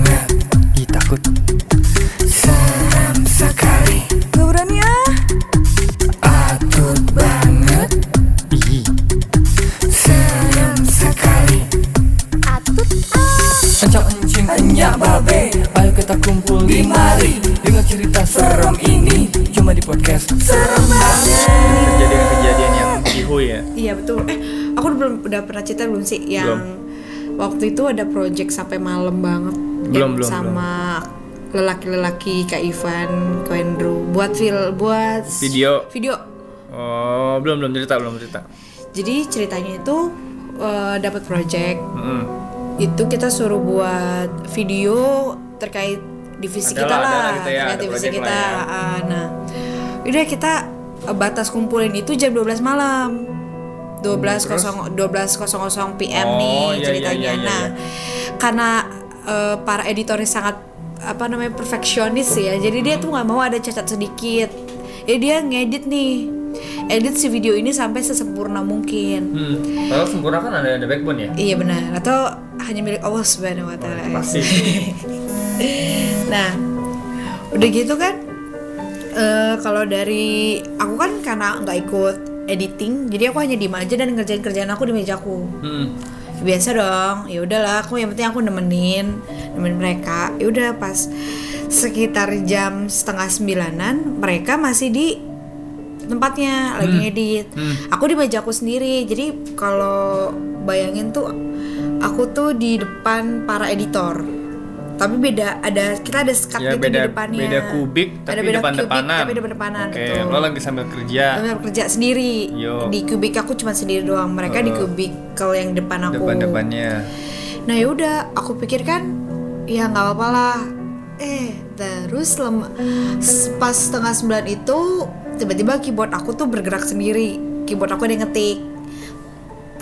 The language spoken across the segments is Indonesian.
ya? podcast Kejadian-kejadian yang ihu ya. Iya betul. Eh, aku udah belum udah pernah cerita belum sih yang Belum. waktu itu ada project sampai malam banget. Belum, Eh, belum, Sama lelaki-lelaki Kak Ivan, Kak Andrew buat fil buat s- Video. Video. Oh, belum belum cerita, belum cerita. Jadi ceritanya itu eh, dapat project Mm-mm. itu kita suruh buat video terkait divisi Ada kita lah, lah, ada lah kita ya, terkait ada divisi project kita. lah ya. Ah, Nah, udah kita eh, batas kumpulin itu jam 12 malam. 12.00 Oh, 12.00 PM nih iya, iya, ceritanya. iya, iya, Nah, karena eh, para editornya sangat apa namanya perfeksionis ya. Jadi dia tuh nggak mau ada cacat sedikit. Jadi dia ngedit nih. Edit si video ini sampai sesempurna mungkin. Hmm. Kalau sempurna kan ada ada backbone ya. Iya benar atau hanya milik Allah Subhanahu wa taala. Pasti. Nah, udah gitu kan eh, kalau dari aku kan karena nggak ikut editing, jadi aku hanya diem aja dan ngerjain kerjaan aku di mejaku. Hmm. Biasa dong. Ya udahlah, aku yang penting aku nemenin, nemenin mereka. Ya udah pas sekitar jam setengah sembilanan mereka masih di tempatnya lagi Hmm. ngedit. Aku di meja aku sendiri. Jadi kalau bayangin tuh aku tuh di depan para editor. Tapi beda ada kita ada sekat Ya gitu di beda depannya. beda kubik Ada tapi beda kubik, depan-depanan. Tapi depan-depanan Oke, betul. lo lagi sambil kerja. Tapi aku kerja sendiri. Iya. Yo. Di kubik aku cuma sendiri doang. Mereka di Heeh. kubik kalau yang depan aku. Depan-depannya. Nah yaudah, aku pikir kan ya nggak apa-apa lah. Eh terus lem s- pas setengah sembilan itu tiba-tiba keyboard aku tuh bergerak sendiri. Keyboard aku ada yang ngetik,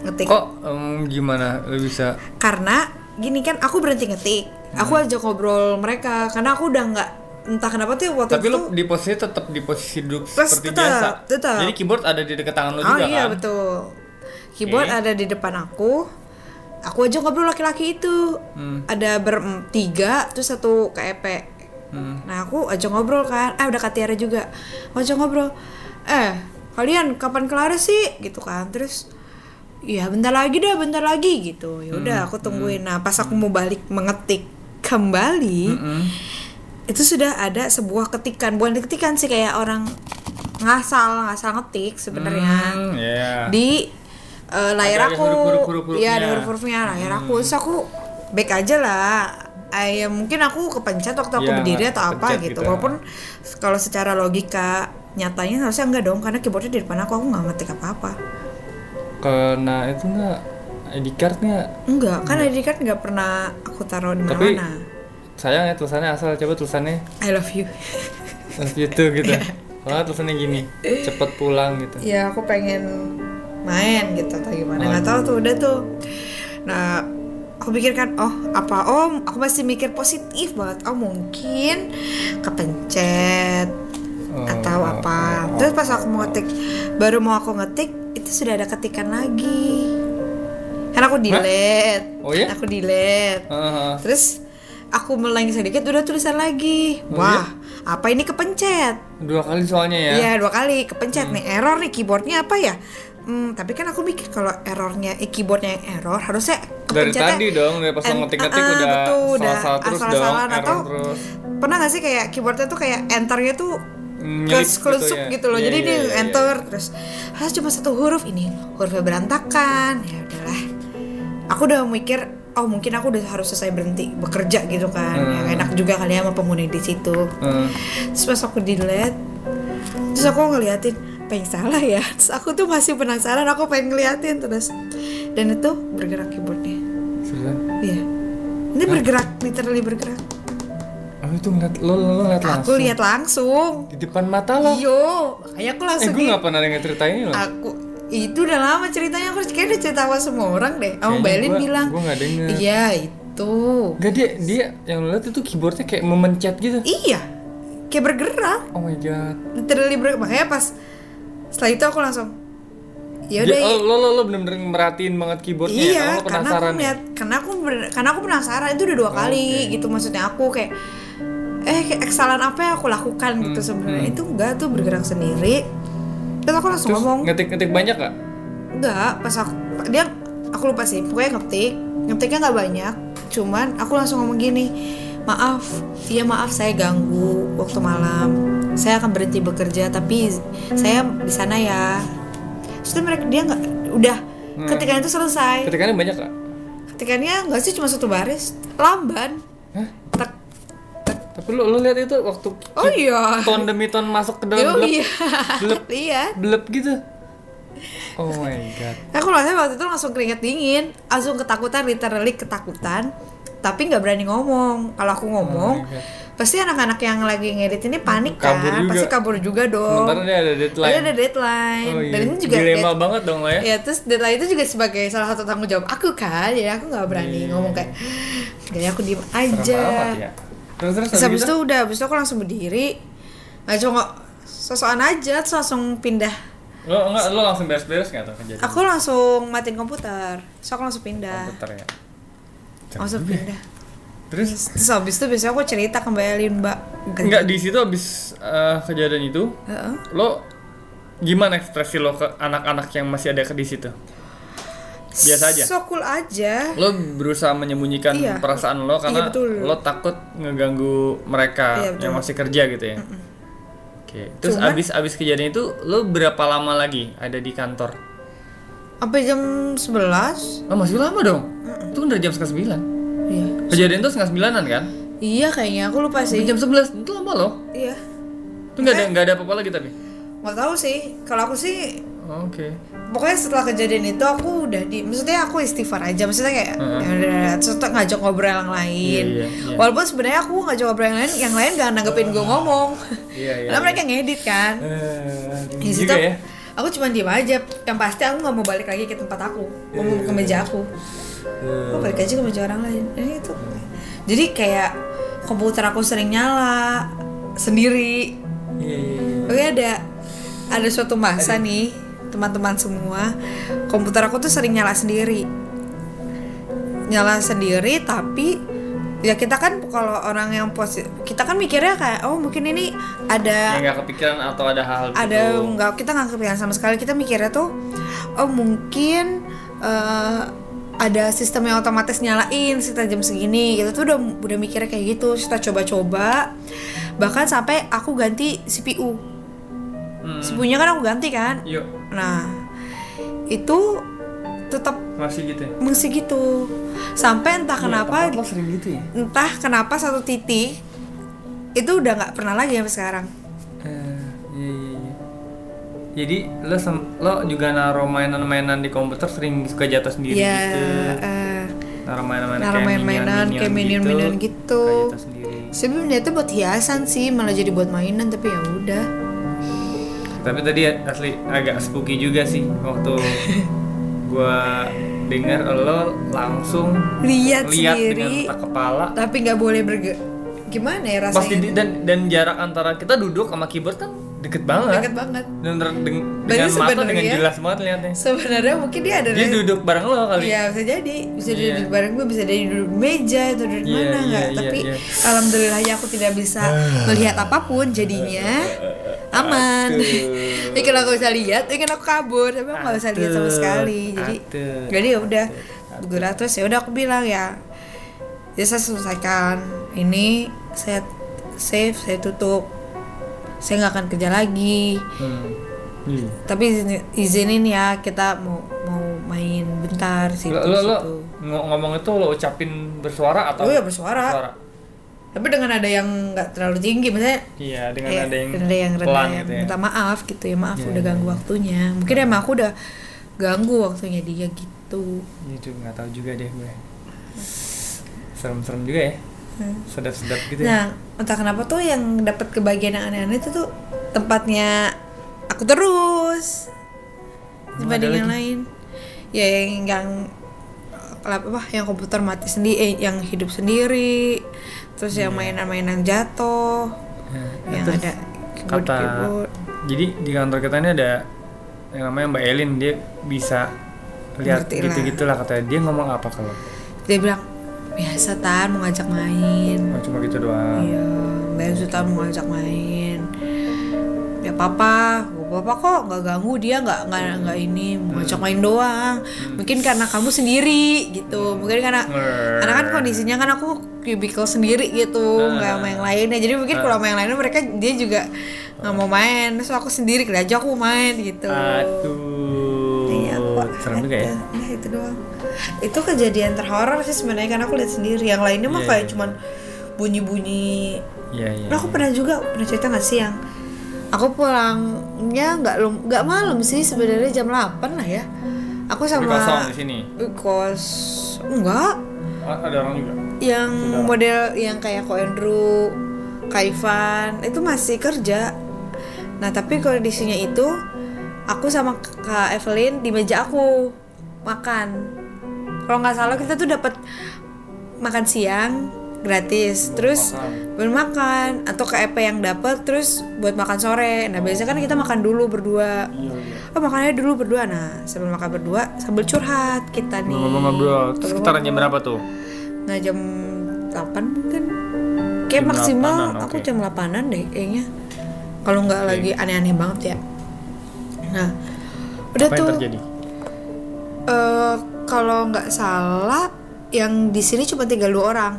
ngetik. Kok em, gimana lo bisa Karena gini kan aku berhenti ngetik. Aku aja ngobrol mereka karena aku udah nggak entah kenapa tuh waktu Tapi itu lo di posisi tetap di posisi duduk Terus seperti tetap, biasa. tetap. Jadi keyboard ada di dekat tangan lo Oh juga iya kan? betul. Keyboard Oke. ada di depan aku. Aku aja ngobrol laki-laki itu. Hmm. Ada bertiga terus satu KEP. Hmm. Nah, aku aja ngobrol kan. Eh udah Kak Tiara juga. Aku aja ngobrol. Eh, kalian kapan kelar sih? Gitu kan. Terus Iya bentar lagi dah, bentar lagi gitu. Ya Hmm, udah aku tungguin. Nah, pas aku mau balik mengetik kembali, Hmm, itu sudah ada sebuah ketikan, bukan ketikan sih kayak orang ngasal ngasal ngetik sebenarnya Hmm, iya. ya. di eh, layar Ada- Hmm. ada aku huruf-huruf-huruf-hurufnya. iya ada huruf-hurufnya layar aku terus aku back aja lah Ay, ya mungkin aku kepencet waktu aku Iya, berdiri atau apa kepencet gitu. gitu. walaupun kalau secara logika nyatanya harusnya enggak dong karena keyboardnya di depan aku aku nggak ngetik apa-apa Kena itu nggak ID card nggak? enggak kan ID card nggak pernah aku taruh di Hmm. Tapi- mana-mana Sayang ya tulisannya asal coba tulisannya I love you Terus gitu gitu. Soalnya tulisannya gini, cepet pulang gitu. ya aku pengen main gitu atau gimana nggak tahu tuh udah tuh nah aku pikirkan oh apa om aku masih mikir positif banget oh mungkin kepencet Oh, oh, atau apa terus pas aku mau ngetik baru mau aku ngetik itu sudah ada ketikan lagi kan aku delete Oh ya? aku delete Heeh. terus aku meleng sedikit udah tulisan lagi Oh, iya? wah apa ini kepencet dua kali soalnya ya. Hmm. Iya dua kali kepencet nih error nih keyboardnya apa ya? Hmm, tapi kan aku mikir kalau errornya eh, keyboardnya yang error harusnya Dari kepencetnya- tadi dong, dari pas lo en- ngetik-ngetik ah, udah betul, udah salah-salah terus dong, asal-asalan error atau terus. pernah nggak sih kayak keyboardnya tuh kayak enternya tuh Nyelip kes gitu kelusup ya. gitu, loh Iya, jadi iya, dia iya, iya. enter terus harus cuma satu huruf ini hurufnya berantakan ya udahlah aku udah mikir oh mungkin aku udah harus selesai berhenti bekerja gitu kan Ya, Hmm. enak juga kali ya sama penghuni di situ Heeh. terus pas aku delete terus aku ngeliatin apa yang salah ya terus aku tuh masih penasaran aku pengen ngeliatin terus dan itu bergerak keyboardnya Seriusan? iya ini bergerak literally bergerak Oh, itu ngeliat lo lo lo ngeliat aku langsung. lihat langsung Di depan mata lo. iyo makanya aku Eh, langsung gue di- nggak pernah denger cerita ini loh. aku itu udah lama ceritanya aku kayaknya udah cerita sama semua orang deh Om Kayaknya Belin gua- bilang gua nggak denger. iya itu Gak dia dia yang lo liat itu keyboardnya kayak memencet gitu. iya kayak bergerak Oh my god. literally bergerak makanya pas setelah itu aku langsung ya udah Dia- oh, lo lo lo bener-bener merhatiin banget keyboardnya. ya, Lo Iya, karena aku penasaran. Oh, melihat, karena aku ber- karena aku penasaran itu udah dua kali gitu maksudnya aku kayak eh kayak kesalahan apa yang aku lakukan gitu Hmm, sebenarnya itu enggak tuh bergerak sendiri terus aku langsung Terus ngomong Eh. ngetik-ngetik banyak gak? enggak pas aku dia aku lupa sih pokoknya ngetik ngetiknya nggak banyak cuman aku langsung ngomong gini maaf iya maaf saya ganggu waktu malam saya akan berhenti bekerja tapi saya di sana ya terus dia mereka dia nggak udah Hmm. ketikannya itu selesai Ketikannya banyak kak? ketikannya nggak sih cuma satu baris lamban Hah? tek tek Tapi lu, lu lihat itu waktu oh iya ton demi ton masuk ke dalam Yo, blep, iya blep, iya blep gitu. Oh my god. Aku rasanya waktu itu langsung keringet dingin, langsung ketakutan, literally ketakutan. Tapi nggak berani ngomong. Kalau aku ngomong, Oh my God. pasti anak-anak yang lagi ngedit ini panik kan, Kabur juga. pasti kabur juga dong. Sementara dia ada deadline. Dia ada deadline. Oh, iya. Dan ini juga dilema dead- banget dong lo ya. Ya terus deadline itu juga sebagai salah satu tanggung jawab aku kan, jadi aku nggak berani Iya. ngomong kayak, jadi aku diem Serem aja. amat ya. Terus terus Terus habis habis itu udah, habis itu aku langsung berdiri, nggak cuma sosokan aja, terus langsung pindah Lo enggak lo langsung beres-beres nggak tuh kejadian? Aku langsung matiin komputer, so aku langsung pindah, komputer ya. langsung pindah. Terus Terus habis itu biasanya aku cerita kembali Mbak. enggak di situ habis eh, kejadian itu Heeh. lo gimana ekspresi lo ke anak-anak yang masih ada ke di situ? Biasa aja. So cool aja. Lo berusaha menyembunyikan Iya. perasaan lo Iya, karena betul. lo takut ngeganggu mereka Iya, betul. yang masih kerja gitu ya. Oke. Terus Cuman- abis abis kejadian itu lo berapa lama lagi ada di kantor? Sampai jam 11. Oh, masih lama dong. Itu kan dari jam setengah sembilan. Iya. Kejadian itu setengah sembilanan kan? Iya kayaknya aku lupa Dari sih. jam sebelas itu lama loh. Iya. Itu nggak ada nggak ada apa-apa lagi tapi. Nggak tahu sih. Kalau aku sih Oke. pokoknya setelah kejadian itu aku udah di maksudnya aku istighfar aja maksudnya kayak Heeh. ya udah terus tuh ngajak ngobrol yang lain Iya, iya, iya. walaupun sebenarnya aku ngajak ngobrol yang lain yang lain gak nanggepin gue ngomong Iya, iya, karena iya. mereka ngedit kan Eh, di situ juga ya. aku cuma diem aja yang pasti aku nggak mau balik lagi ke tempat aku Iya, nggak mau ke meja aku Eh. aku balik aja ke meja orang lain ini itu jadi kayak komputer aku sering nyala sendiri Iya, iya, iya. oke ada ada suatu masa nih teman-teman semua komputer aku tuh sering nyala sendiri nyala sendiri tapi ya kita kan kalau orang yang positif kita kan mikirnya kayak oh mungkin ini ada Yang nggak kepikiran atau ada hal gitu? ada Oh. nggak kita nggak kepikiran sama sekali kita mikirnya tuh oh mungkin eh, ada sistem yang otomatis nyalain sekitar jam segini gitu tuh udah udah mikirnya kayak gitu kita coba-coba bahkan sampai aku ganti CPU Hmm. Iya. CPU-nya kan aku ganti kan Yuk, nah itu tetap masih gitu ya. masih gitu sampai Iya, entah kenapa Tempat lo sering gitu ya? entah kenapa satu titik itu udah nggak pernah lagi sampai sekarang Eh, iya, iya, iya. Jadi lo sem- lo juga naruh mainan-mainan di komputer sering suka jatuh sendiri ya gitu. eh, Naruh mainan-mainan Naruh kayak mainan-mainan minion-minion kayak minion-minion gitu. Suka jatuh sendiri. Sebenarnya itu buat hiasan sih, malah jadi buat mainan tapi ya udah. Tapi tadi asli agak spooky juga sih waktu gua dengar lo langsung lihat Lihat dengan sendiri, mata kepala tapi nggak boleh berge. Gimana ya pasti rasanya? di- dan dan jarak antara kita duduk sama keyboard kan deket banget Deket banget. dan deng- dengan Berarti mata dengan sebenarnya- jelas banget liatnya Sebenarnya mungkin dia ada. dia duduk bareng lo kali Iya bisa jadi, bisa Iya. duduk bareng gue, bisa jadi duduk di meja atau duduk di Iya, mana iya, nggak. iya, tapi iya. alhamdulillahnya aku tidak bisa melihat apapun, jadinya aman. Aduh. Mungkin aku bisa lihat, mungkin aku kabur, tapi aku nggak bisa lihat sama Aduh, sekali. Jadi, aduh, jadi ya udah, gue terus ya udah aku bilang ya, ya saya selesaikan ini, saya save, saya tutup, saya nggak akan kerja lagi Hmm. Iya. tapi izin- izinin ya kita mau mau main bentar situ lo, lo, lo situ. ngo- ngomong itu lo ucapin bersuara atau Oh iya, bersuara. tapi dengan ada yang nggak terlalu tinggi misalnya iya dengan eh, ada yang, ada yang rendah pelan yang gitu ya minta maaf gitu ya maaf Iya, udah iya, ganggu waktunya mungkin emang aku udah ganggu waktunya dia gitu itu nggak tahu juga deh gue serem-serem juga ya sedap-sedap gitu ya Hmm. nah entah kenapa tuh yang dapat kebagian yang aneh-aneh itu tuh tempatnya aku terus Emang ada dibanding yang lagi? lain ya yang yang apa yang komputer mati sendiri eh, yang hidup sendiri terus yang mainan-mainan jatuh Nah, Iya. yang terus ada keyboard kata keyboard jadi di kantor kita ini ada yang namanya Mbak Elin dia bisa lihat Ngerti lah. gitu-gitulah katanya dia ngomong apa kalau Oh, dia bilang biasa tan mau ngajak main oh, cuma gitu doang iya biasa tan mau ngajak main ya papa papa kok nggak ganggu dia nggak nggak nggak ini mau ngajak main doang mungkin karena kamu sendiri gitu mungkin karena Ngerti. karena kan kondisinya kan aku cubicle sendiri gitu nggak sama Nah. yang lainnya jadi mungkin kalau sama yang lainnya mereka dia juga nggak mau main terus aku sendiri kira aja aku main gitu Aduh. Iya, aku Serem juga ya. ada- Iya, itu doang. Itu kejadian terhoror sih sebenarnya karena aku lihat sendiri. Yang lainnya Iya, mah kayak iya. cuman bunyi-bunyi. Iya, iya. Nah, aku pernah juga pernah cerita nggak sih yang aku pulangnya nggak lum- nggak malam sih sebenarnya jam 8 lah ya. Aku Tapi sama kosong di sini. Eh, kos enggak Oh, ada orang juga. yang model yang kayak Ko Andrew, Kaifan itu masih kerja. Nah tapi kondisinya itu aku sama Kak Evelyn di meja aku makan. Kalau nggak salah kita tuh dapat makan siang gratis, terus Makan. belum makan atau Kak Epe yang dapat terus buat makan sore. Nah biasanya kan kita makan dulu berdua. Iya, iya. Oh makannya dulu berdua nah sebelum makan berdua sambil curhat kita nih. Ngobrol-ngobrol. Terus sekitaran jam berapa tuh? Nah jam 8 mungkin Kayak Jam maksimal 8-an, aku oke. jam 8an deh kayaknya Kalau nggak Oke. lagi aneh-aneh banget ya Nah udah Apa tuh yang terjadi? eh, Kalau nggak salah Yang di sini cuma tinggal dua orang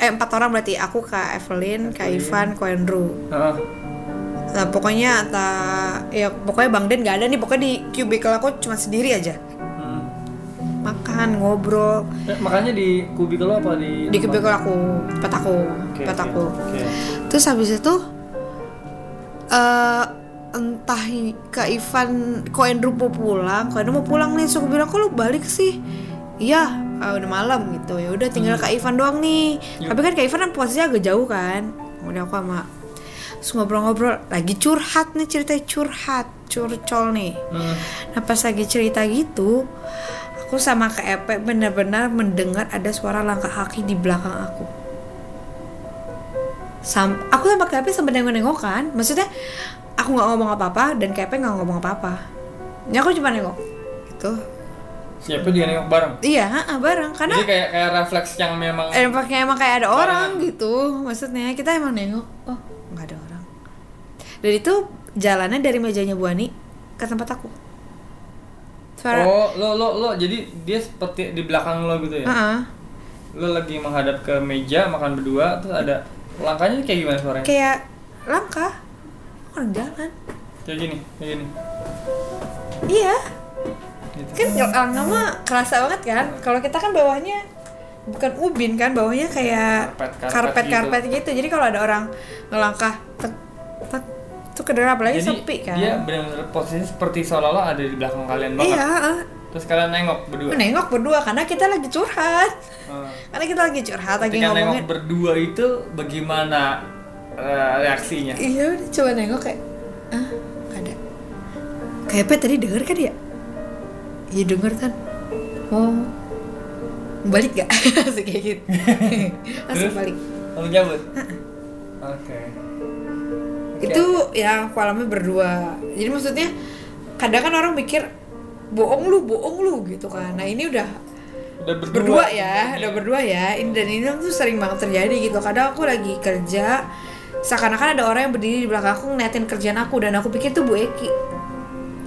Eh empat orang berarti Aku, Kak Evelyn, Kak Ivan, Kak Andrew Heeh. Nah pokoknya ta, ya, Pokoknya Bang Den nggak ada nih Pokoknya di cubicle aku cuma sendiri aja Hmm. Makan, ngobrol Eh, makanya di kubikel lo apa di Di cubicle aku, tempat aku, Oke, tempat oke, aku oke. Terus habis itu eh entah i- Kak Ivan, kok Andrew mau pulang, kok Andrew mau pulang nih, so aku bilang kok lu balik sih? Iya, ah, udah malam gitu. Ya udah tinggal Kak Ivan doang nih. Tapi kan Kak Ivan kan posisinya agak jauh kan. Kemudian aku sama terus ngobrol-ngobrol lagi curhat nih cerita curhat curcol nih Hmm. nah pas lagi cerita gitu aku sama Kak Epe benar-benar mendengar ada suara langkah kaki di belakang aku Sam aku sama Kak Epe sampai nengok-nengok kan maksudnya aku nggak ngomong apa-apa dan Kak Epe nggak ngomong apa-apa ya aku cuma nengok gitu Siapa dia nengok bareng? iya ha-ha, bareng karena Jadi kayak kayak refleks yang memang eh, nampaknya emang kayak ada orang gitu maksudnya kita emang nengok oh nggak ada orang dan itu jalannya dari mejanya Bu Ani ke tempat aku suara Oh, lo lo lo jadi dia seperti di belakang lo gitu ya. Ha-ha. Lo lagi menghadap ke meja makan berdua terus ada langkahnya kayak gimana suaranya? kayak langkah orang jalan Kayak gini, kayak gini. iya Gitu. kan langkah mah kerasa banget kan kalau kita kan bawahnya bukan ubin kan bawahnya kayak Karpet-karpet karpet karpet, gitu. gitu. jadi kalau ada orang ngelangkah tek, tek, tuh kedengeran apalagi Jadi sepi kan dia benar-benar posisinya seperti seolah-olah ada di belakang kalian banget. iya heeh. Terus kalian nengok berdua. menengok berdua karena kita lagi curhat Hmm. karena kita lagi curhat lagi Ketika kan nengok ngomongin berdua itu bagaimana eh, reaksinya? iya udah coba nengok kayak ah nggak ada kayak Pet tadi denger kan ya iya denger kan oh balik gak Langsung kayak gitu langsung Terus? balik Lalu cabut. Oke. Oke. itu yang aku alami berdua jadi maksudnya kadang kan orang mikir bohong lu bohong lu gitu kan nah ini udah udah berdua, Iya. berdua ya, udah berdua ya. Ini dan ini tuh sering banget terjadi gitu. Kadang aku lagi kerja, seakan-akan ada orang yang berdiri di belakang aku ngeliatin kerjaan aku dan aku pikir tuh Bu Eki.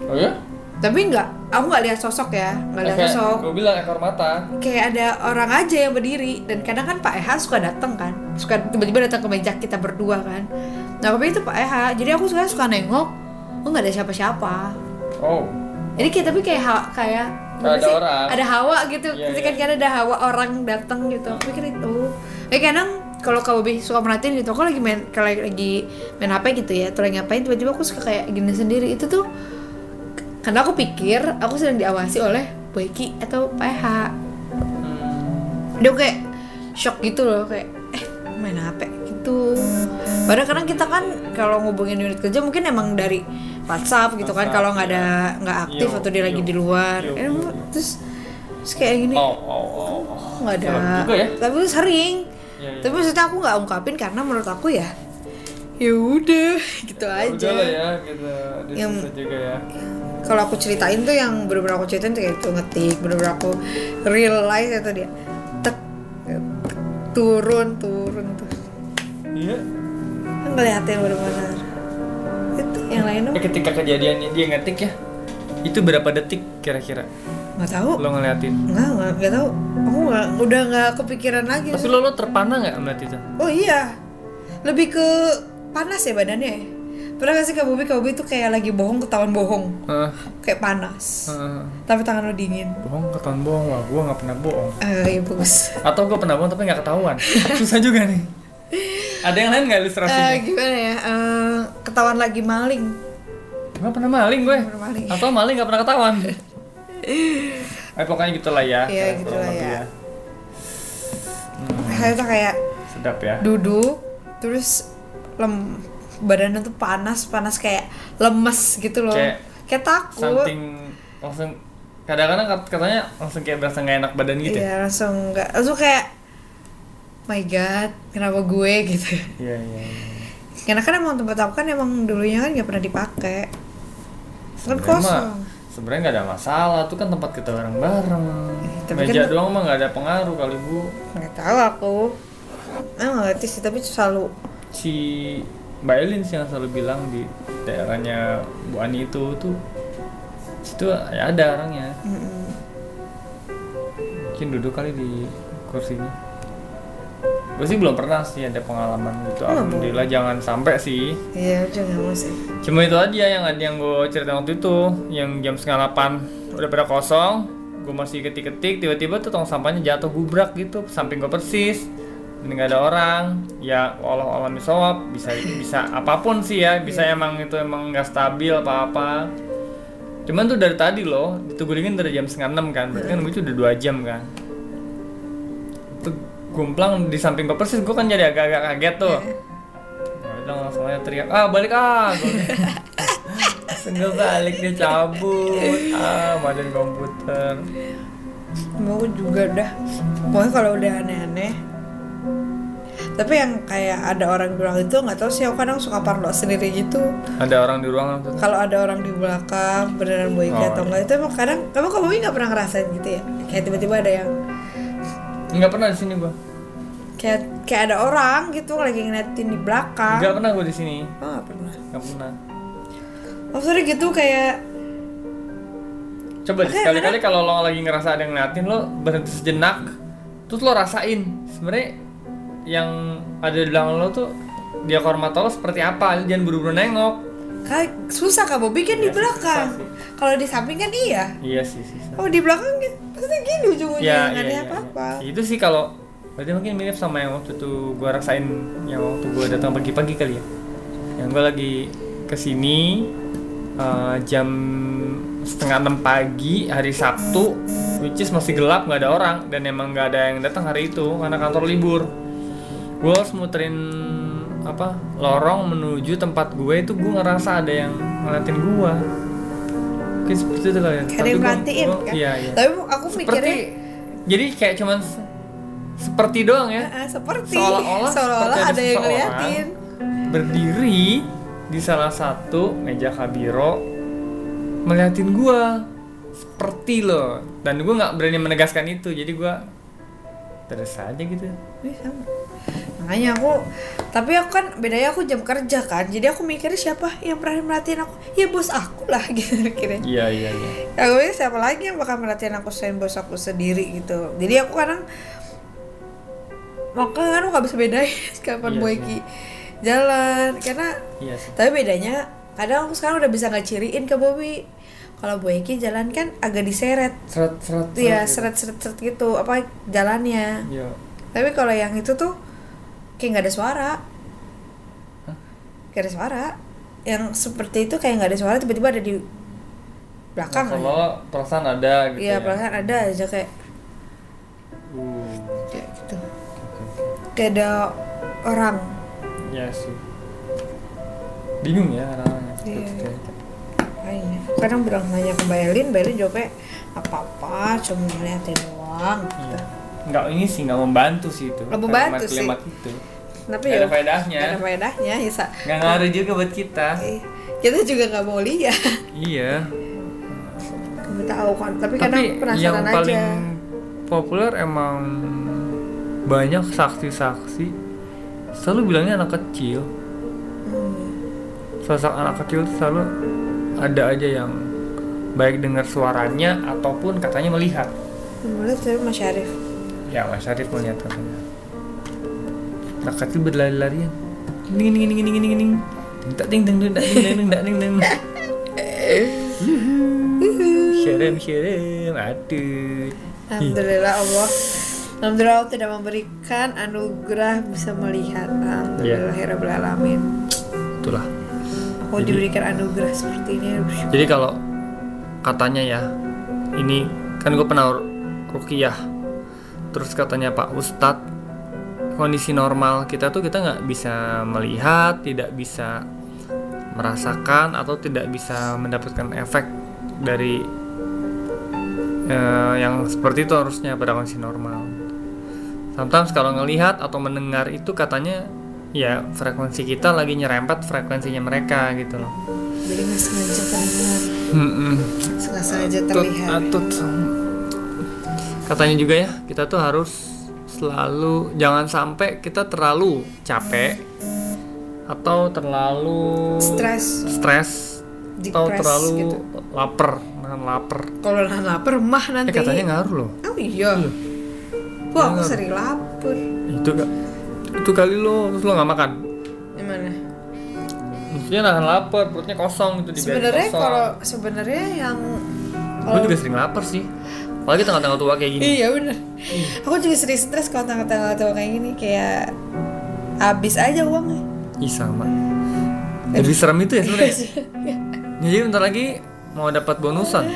Oh ya? Tapi nggak, aku nggak lihat sosok ya, nggak lihat sosok. Gue bilang ekor mata. Kayak ada orang aja yang berdiri dan kadang kan Pak Eha suka datang kan, suka tiba-tiba datang ke meja kita berdua kan. Nah aku pikir itu Pak Eha, jadi aku suka suka nengok, oh nggak ada siapa-siapa. Oh. Jadi kayak tapi kayak hawa, kayak gimana Ada orang. ada hawa gitu. Iya, Pasti iya. kan kadang ada hawa orang datang gitu. Aku pikir itu. Eh kadang kalau kau lebih suka merhatiin gitu, aku lagi main kalau lagi main HP gitu ya, atau lagi ngapain tiba-tiba aku suka kayak gini sendiri. Itu tuh karena aku pikir aku sedang diawasi oleh Boyki atau PH. Hmm. Dia kayak shock gitu loh kayak eh main HP gitu. Padahal kadang kita kan kalau ngubungin unit kerja mungkin emang dari WhatsApp gitu kan WhatsApp, kalau nggak ada iya. nggak aktif Yo, atau dia lagi yo, di luar yo, Eh, yo, yo. terus terus kayak gini Oh, oh, oh, oh. nggak ada Serem juga ya. tapi itu sering Iya, iya. tapi maksudnya aku nggak ungkapin karena menurut aku ya ya udah gitu aja Udah lah ya, gitu. Dia Yang- susah juga ya. kalau aku ceritain tuh yang bener-bener aku ceritain tuh kayak itu ngetik bener-bener aku realize itu dia tek, tek, turun turun tuh Iya. ngeliatin bener-bener itu yang lain Eh, tuh ketika kejadiannya dia ngetik ya, itu berapa detik kira-kira? nggak tahu lo ngeliatin nggak nggak nggak tahu aku nggak udah nggak kepikiran lagi tapi lo lo terpana nggak ngeliat itu oh iya lebih ke panas ya badannya pernah gak sih kak Bobi kak Bobi tuh kayak lagi bohong ketahuan bohong Heeh. kayak panas heeh. tapi tangan lo dingin bohong ketahuan bohong wah gue nggak pernah bohong eh ya bagus atau gue pernah bohong tapi nggak ketahuan susah juga nih ada yang lain nggak Eh, ilustrasinya gimana ya Eh, ketahuan lagi maling Gak pernah maling gue Pernah maling. Atau maling gak pernah ketahuan Eh pokoknya gitulah ya Iya, Kalian gitu kurang lah lebih ya. saya tuh kayak Sedap ya duduk terus lem badannya tuh panas panas kayak lemes gitu loh Kayak kayak, takut Something langsung Kadang-kadang kat- katanya langsung kayak berasa gak enak badan gitu ya iya langsung nggak langsung kayak my god kenapa gue gitu Iya iya iya. karena kan emang tempat aku kan emang dulunya kan nggak pernah dipakai kan Sebenarnya mah- kosong Sebenarnya gak ada masalah Itu kan tempat kita bareng-bareng tapi Meja kan- doang mah gak ada pengaruh kali bu nggak tahu aku Emang nggak ngerti sih tapi selalu Si Mbak Elin sih yang selalu bilang di daerahnya Bu Ani itu tuh situ ya ada orangnya Mm-mm. mungkin duduk kali di kursinya gue sih belum pernah sih ada pengalaman gitu Kenapa? alhamdulillah jangan sampai sih iya jangan mau sih cuma itu aja yang ada yang gue cerita waktu itu yang jam setengah delapan udah pada kosong gue masih ketik-ketik tiba-tiba tuh tong sampahnya jatuh gubrak gitu samping gue persis dan nggak ada orang ya Allah Allah misawab bisa bisa apapun sih ya bisa emang itu emang nggak stabil apa apa cuman tuh dari tadi loh ditunggu dingin dari jam setengah enam kan berarti kan gue itu udah dua jam kan itu gumplang di samping gue persis gue kan jadi agak-agak kaget tuh Nah, udah langsung aja teriak ah balik ah Senggol balik dia cabut ah badan komputer mau juga dah pokoknya kalau udah aneh-aneh tapi yang kayak ada orang bilang itu nggak tahu sih aku kadang suka parno sendiri gitu ada orang di ruangan tuh kalau ada orang di belakang beneran boy Oh, atau enggak itu emang kadang kamu kamu nggak pernah ngerasain gitu ya kayak tiba-tiba ada yang nggak pernah di sini gua kayak kayak ada orang gitu lagi ngeliatin di belakang nggak pernah gua di sini oh nggak pernah nggak pernah maksudnya gitu kayak coba deh, sekali-kali kalau lo lagi ngerasa ada yang ngeliatin lo berhenti sejenak terus lo rasain sebenarnya yang ada di belakang lo tuh dia hormat lo seperti apa Lo jangan buru-buru nengok kayak susah kak Bobby kan di Iya, belakang susah kalau di samping kan iya iya sih sih oh di belakang kan pasti gini ujung-ujungnya Ya, nggak ada apa-apa Iya, Itu sih kalau berarti mungkin mirip sama yang waktu itu gua rasain yang waktu gua datang pagi-pagi kali ya. Yang gua lagi kesini eh, jam setengah enam pagi hari Sabtu, which is masih gelap nggak ada orang dan emang nggak ada yang datang hari itu karena kantor libur. Gua harus muterin apa lorong menuju tempat gue itu gue ngerasa ada yang ngeliatin gua mungkin seperti itu kali ya Kayak ada yang Tapi gua- merhatiin gua- kan iya, iya tapi aku seperti mikirnya jadi kayak cuman se- seperti doang ya "Ah, seperti seolah-olah seolah-olah seperti ada yang seseorang ngeliatin berdiri di salah satu meja kabiro meliatin gua seperti loh dan gua nggak berani menegaskan itu jadi gua terus aja gitu Ih, sama. makanya aku tapi aku kan bedanya aku jam kerja kan jadi aku mikirnya siapa yang pernah merhatiin aku ya bos aku lah gitu akhirnya iya iya iya aku pikir siapa lagi yang bakal merhatiin aku selain bos aku sendiri gitu jadi aku kadang makanya kan aku nggak bisa bedain kapan Iya boy sih. ki jalan karena iya sih Tapi bedanya kadang aku sekarang udah bisa ngeciriin ke Bobby. Kalau Bu Eki jalan kan agak diseret. seret seret Iya, gitu. seret-seret gitu apa jalannya. iya Tapi kalau yang itu tuh kayak nggak ada suara. Hah? Gak ada suara. Yang seperti itu kayak nggak ada suara tiba-tiba ada di belakang. aja. kalau perasaan ada gitu ya. Iya, ya. belakang ada aja kayak Uh, kayak gitu. oke, oke. Kayak ada orang. Iya sih bingung ya orang-orangnya Iya, seperti iya. itu. Kayaknya. Kadang bilang nanya ke Bailin, Bailin jawabnya apa-apa, cuma ngeliatin doang. gitu. Iya. Nggak ini sih nggak membantu sih itu. Nggak membantu sih. Kalimat-kalimat itu. Nggak Tapi ya ada faedahnya. Gak ada faedahnya ya Sa. Nggak ngaruh juga buat kita. Eh, kita juga nggak mau lihat Iya. kamu tahu kan tapi, kadang Tapi yang penasaran paling aja populer emang banyak saksi-saksi selalu bilangnya anak kecil. Hmm. Sosok anak kecil tuh selalu ada aja yang baik dengar suaranya ataupun katanya melihat Menurut tapi Mas Syarif. ya Mas Syarif melihat katanya anak kecil berlari-larian ding ding ding ding ding ding tak ding ding ding tak ding ding tak ding ding Syarif syarif aduh Alhamdulillah Allah. Alhamdulillah Allah tidak memberikan anugerah bisa melihat. Alhamdulillah Iya. ya Rabbil Alamin. itulah Aku diberikan anugerah seperti ini. bersyukur. Jadi kalau katanya ya, ini kan gue pernah ru- rukiah, terus katanya Pak Ustadz kondisi normal kita tuh kita nggak bisa melihat, tidak bisa merasakan atau tidak bisa mendapatkan efek dari eh, yang seperti itu harusnya pada kondisi normal. Sometimes kalau ngelihat atau mendengar itu katanya ya frekuensi kita lagi nyerempet frekuensinya mereka gitu loh. Jadi nggak sengaja terdengar, Mm-mm. nggak sengaja Tut, terlihat. atut. Katanya juga ya, kita tuh harus selalu jangan sampai kita terlalu capek atau terlalu Stres, stres atau depressed terlalu gitu. lapar, nahan lapar. Kalau nahan lapar mah Eh nanti. katanya ngaruh loh. Oh iya. Wah, aku sering lapar. Itu gak, itu kali lo terus lo nggak makan. Gimana? Maksudnya nahan lapar, perutnya kosong itu dibiarin Sebenarnya kosong. kalau sebenarnya yang Gue kalau juga sering lapar sih. Apalagi tengah-tengah tua kayak gini. Iya bener Aku juga sering stres kalau tanggal-tanggal tua kayak gini Kayak Abis aja uangnya Ih sama. Lebih serem itu ya sebenarnya. Ya, Jadi bentar lagi mau dapat bonusan.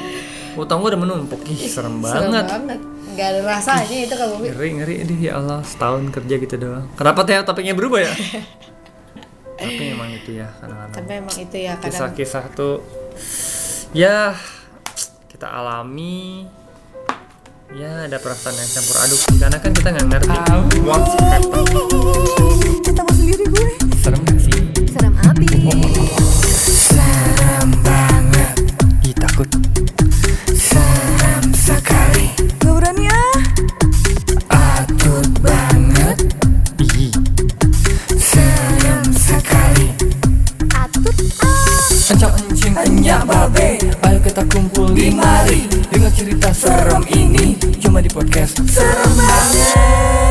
Utang gua udah menumpuk. Ih, serem Serem banget. banget Gak ada rasanya itu kalau gue Ngeri ngeri deh ya Allah, setahun kerja gitu doang. Kenapa teh topiknya berubah ya? Tapi emang itu ya kadang-kadang. Tapi emang itu ya kadang Kisah-kisah tuh ya kita alami ya ada perasaan yang campur aduk karena kan kita nggak ngerti what's happening Ketawa sendiri gue serem gak sih Serem abis Serem banget Ih, takut Serem sekali Gak berani ah Atut banget Ih. Serem sekali Atut ah Encang encing Hanya babe Ayo kita kumpul Di mari Dengar cerita Serem ini Cuma di podcast Serem banget